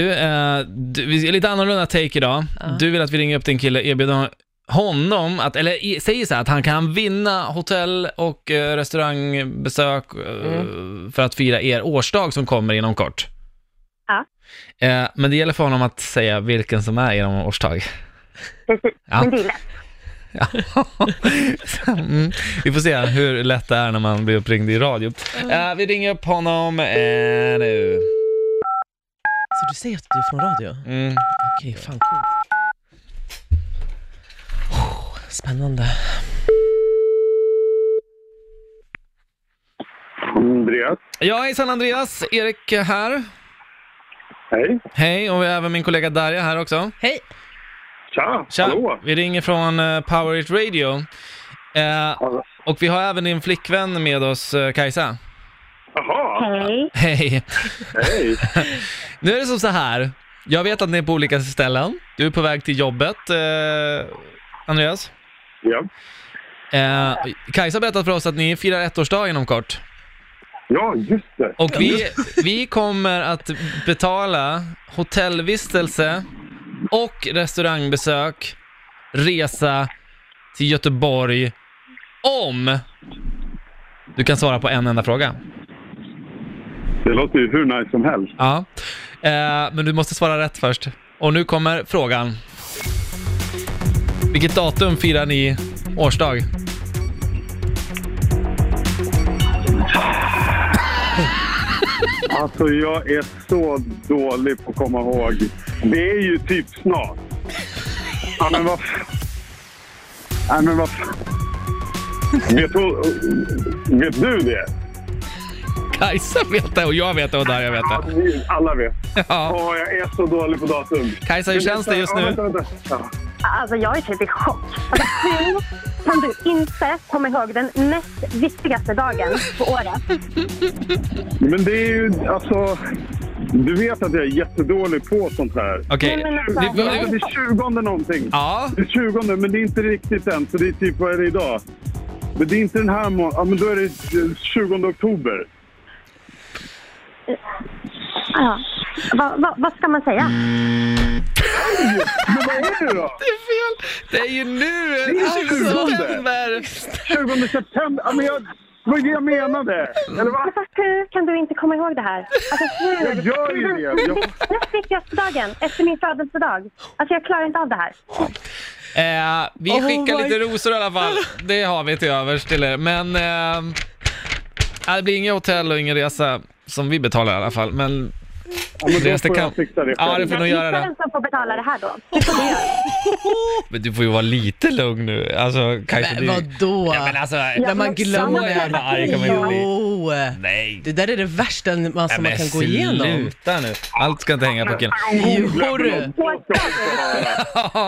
Du, eh, du, vi är lite annorlunda take idag. Ja. Du vill att vi ringer upp din kille, erbjuder honom att, eller i- säger så här, att han kan vinna hotell och eh, restaurangbesök eh, Mm. för att fira er årsdag som kommer inom kort. Ja. Eh, men det gäller för honom att säga vilken som är er årsdag. Precis. Ja. Men det är lätt. Ja. mm. Vi får se hur lätt det är när man blir uppringd i radio. Mm. Eh, vi ringer upp honom eh, nu. Så du säger att du är från radio? Mm. Okej, fan coolt. Oh, spännande. Alltså, Andreas, Ja, hejsan Andreas, Erik här. hej. Hej, och vi har även min kollega Darja här också. Hej! Tja, Tja, hallå. vi ringer från eh, Power It Radio. Eh, Alltså, och vi har även din flickvän med oss, eh, Kajsa. Jaha, Hej. Hej! hej. Nu är det som så här, jag vet att ni är på olika ställen. Du är på väg till jobbet, eh, Andreas. Ja, Eh, Kajsa har berättat för oss att ni firar ettårsdag inom kort. ja just det. Och vi, vi kommer att betala hotellvistelse och restaurangbesök, resa till Göteborg om du kan svara på en enda fråga. Det låter ju hur nice som helst. Ja. Eh, men du måste svara rätt först. Och nu kommer frågan. Vilket datum firar ni årsdag? Alltså jag är så dålig på att komma ihåg. Det är ju typ snart. Ja men vad fan. Nej men vad fan. Vet, hon- vet du det? Kajsa vet det och jag vet det och Darja vet det. Alla vet. Ja. Åh, jag är så dålig på datum. Kajsa, hur känns det just Ja, nu? vänta, vänta. Ja. Alltså jag är typ i chock. Alltså, hur kan du inte komma ihåg den näst viktigaste dagen på året? Men det är ju alltså. Du vet att jag är jättedålig på sånt här. Okej. Nej, men alltså, Vi- vi- jag Alltså, är det är 20 någonting. Ja, Det är 20 men det är inte riktigt än, så det är typ, vad är det idag? Men det är inte den här månaden, ja men då är det eh, 20 oktober. Ja. Vad vad- vad ska man säga? Men vad är det då? det är ju nu! Det är ju Alltså, nu. september. 20 september? Ja, men jag, vad var det jag menade? Eller vad? Alltså, hur kan du inte komma ihåg det här? Alltså, hur? Jag gör ju det. Jag, Näst viktigaste dagen efter min födelsedag. Alltså jag klarar inte av det här. Eh, vi Oh skickar my- lite rosor i alla fall. Det har vi till övers till er. Men eh, ja, det blir inget hotell och ingen resa som vi betalar i alla fall. Men ja, men då Reste får kan- jag fixa det ja, det själv. får nog göra Det är det. den som får betala det här då. Det får du göra. Men du får ju vara lite lugn nu. Alltså, Kajsa, Men du... vadå? Ja, men alltså, Ja, När man men glömmer. samma jävla arg kan man ju bli. Jo! nej. Det där är det värsta man, Ja, som men man kan gå igenom. Sluta nu. Allt ska inte hänga på killen. Jo, du. Då ska jag också höra.